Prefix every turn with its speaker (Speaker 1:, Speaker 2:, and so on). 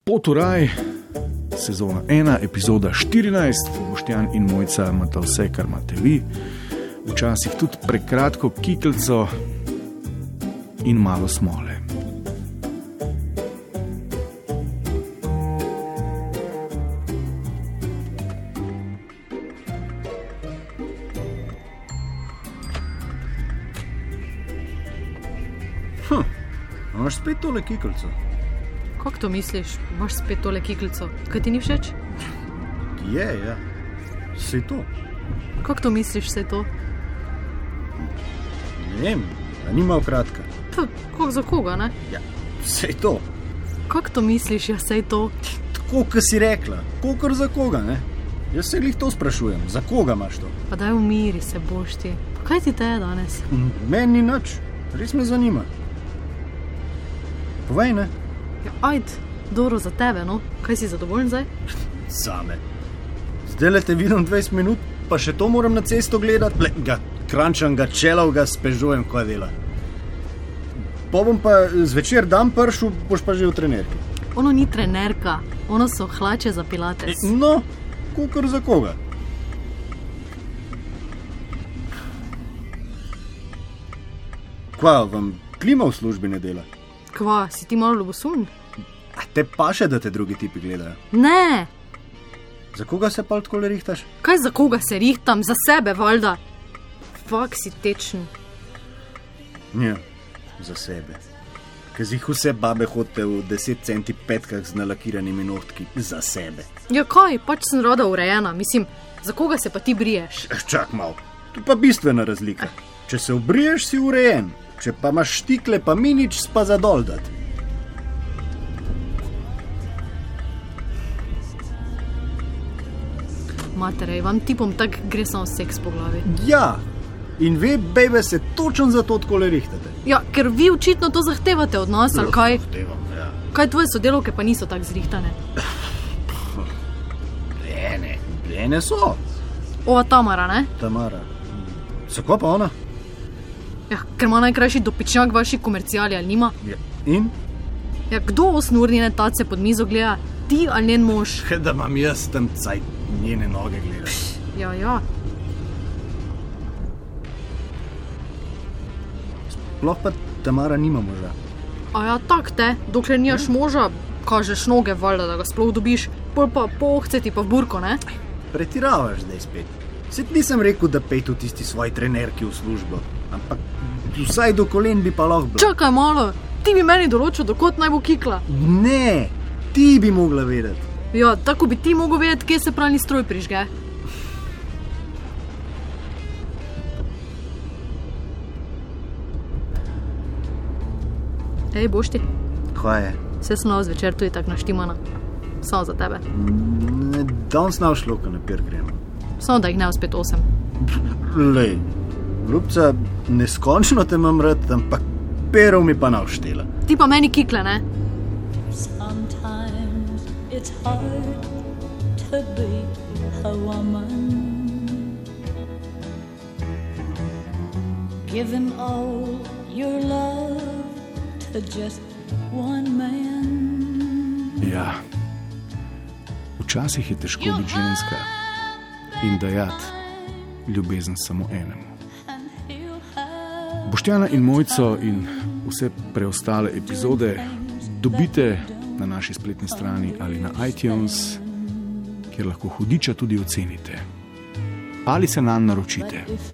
Speaker 1: Pot v raj, sezona 1, epizoda 14, Boštjan in Mojca imata vse, kar imate vi, včasih tudi prekratko kikljico in malo smole.
Speaker 2: Hm, imaš spet tole kikalco.
Speaker 3: Kako to misliš, imaš spet tole kiklico, kaj ti ni všeč?
Speaker 2: Je, ja. Si to.
Speaker 3: Kako to misliš, vse to?
Speaker 2: Ne vem, a ni malo kratka.
Speaker 3: Pa, kako za koga, ne?
Speaker 2: Ja, si to.
Speaker 3: Kako to misliš, ja, sej to?
Speaker 2: Tako, kot si rekla, kokor za koga, ne? Jaz se jih to sprašujem, za koga imaš to?
Speaker 3: Pa daj umiri se boš ti. Pa kaj ti te je danes?
Speaker 2: Hm, Meni ni nič, res me zanima. Povej, ne,
Speaker 3: Ja, ajd, dobro za tebe, no, kaj si zadovoljen zdaj?
Speaker 2: same. Zdaj le te vidim 20 minut, pa še to moram na cesto gledati, le ga krančam, ga čelav, ga spežujem, ko dela. Po bom pa zvečer dan pršil, boš pa že v trenerki.
Speaker 3: Ono ni trenerka, ono so hlače za pilates.
Speaker 2: No, kukar za koga. Kva vam klima v službi ne dela?
Speaker 3: Kva, si ti malo ljubosumn?
Speaker 2: A te pa še, da te drugi tipi gledajo.
Speaker 3: Ne,
Speaker 2: Za koga se pa tako rihtaš?
Speaker 3: kaj za koga se rihtam, za sebe, valjda. Fak si tečen.
Speaker 2: Ja, za sebe. Ker jih vse babe hodite v 10 centi petkah z nalakiranimi nohtki za sebe.
Speaker 3: Ja, kaj, pač sem roda urejena, mislim, za koga se pa ti briješ?
Speaker 2: Eh, Čak malo, tu pa bistvena razlika. Če se obriješ, si urejen, če pa imaš štikle, pa mi nič spa zadol dati.
Speaker 3: Materej, vam tipom tak gre samo seks po glavi.
Speaker 2: Ja, in ve, bebe se točno zato tako le rihtate.
Speaker 3: Ja, ker vi očitno to zahtevate od nas, ali kaj?
Speaker 2: Zahtevam, ja.
Speaker 3: Kaj tvoje sodelovke pa niso tako zrihtane?
Speaker 2: Ene, ene so,
Speaker 3: Ova Tamara, ne?
Speaker 2: Tamara. Sako pa ona?
Speaker 3: Ja, ker ima najkrajši dopičnjak vaših komercijali, ali nima?
Speaker 2: Ja. In?
Speaker 3: Ja, kdo osmurnjene tace pod mizo gleda? Ti ali njen mož?
Speaker 2: Kaj da imam jaz tam caj njene noge gledati.
Speaker 3: Ja, ja.
Speaker 2: Sploh pa Tamara nima moža.
Speaker 3: A ja, tak te, dokler nimaš moža, kažeš noge, valjda, da ga sploh dobiš, pol pa pohce ti pa v burko, ne?
Speaker 2: Pretiravaš zdaj spet. Se ti nisem rekel, da pej v tisti svoji trenerki v službo, ampak vsaj do kolen bi pa lahko bilo.
Speaker 3: Čakaj malo, ti bi meni določil, dokot naj bo kikla.
Speaker 2: Ne, ti bi mogla vedeti.
Speaker 3: Ja, tako bi ti mogel vedeti, kje se pralni stroj prižge. Ej, boš ti,
Speaker 2: Kaj je?
Speaker 3: vse sem nov zvečer, tu je tako naštimana. Samo za tebe,
Speaker 2: Ne, Danes nav šlo, ko na pier gremo.
Speaker 3: samo da jih ne uspet osem.
Speaker 2: Lej, ljubca, neskončno te imam rad, ampak perov mi pa navštela.
Speaker 3: Ti pa meni kikle, ne?
Speaker 4: Sometimes it's hard to be a woman. Give him all your love to just one man.
Speaker 1: Ja, včasih je težko biti ženska in dajati ljubezen samo enemu.
Speaker 4: And he'll have
Speaker 1: Boštjana in Mojco in vse preostale epizode dobite na naši spletni strani ali na iTunes, kjer lahko hudiča tudi ocenite ali se nam naročite.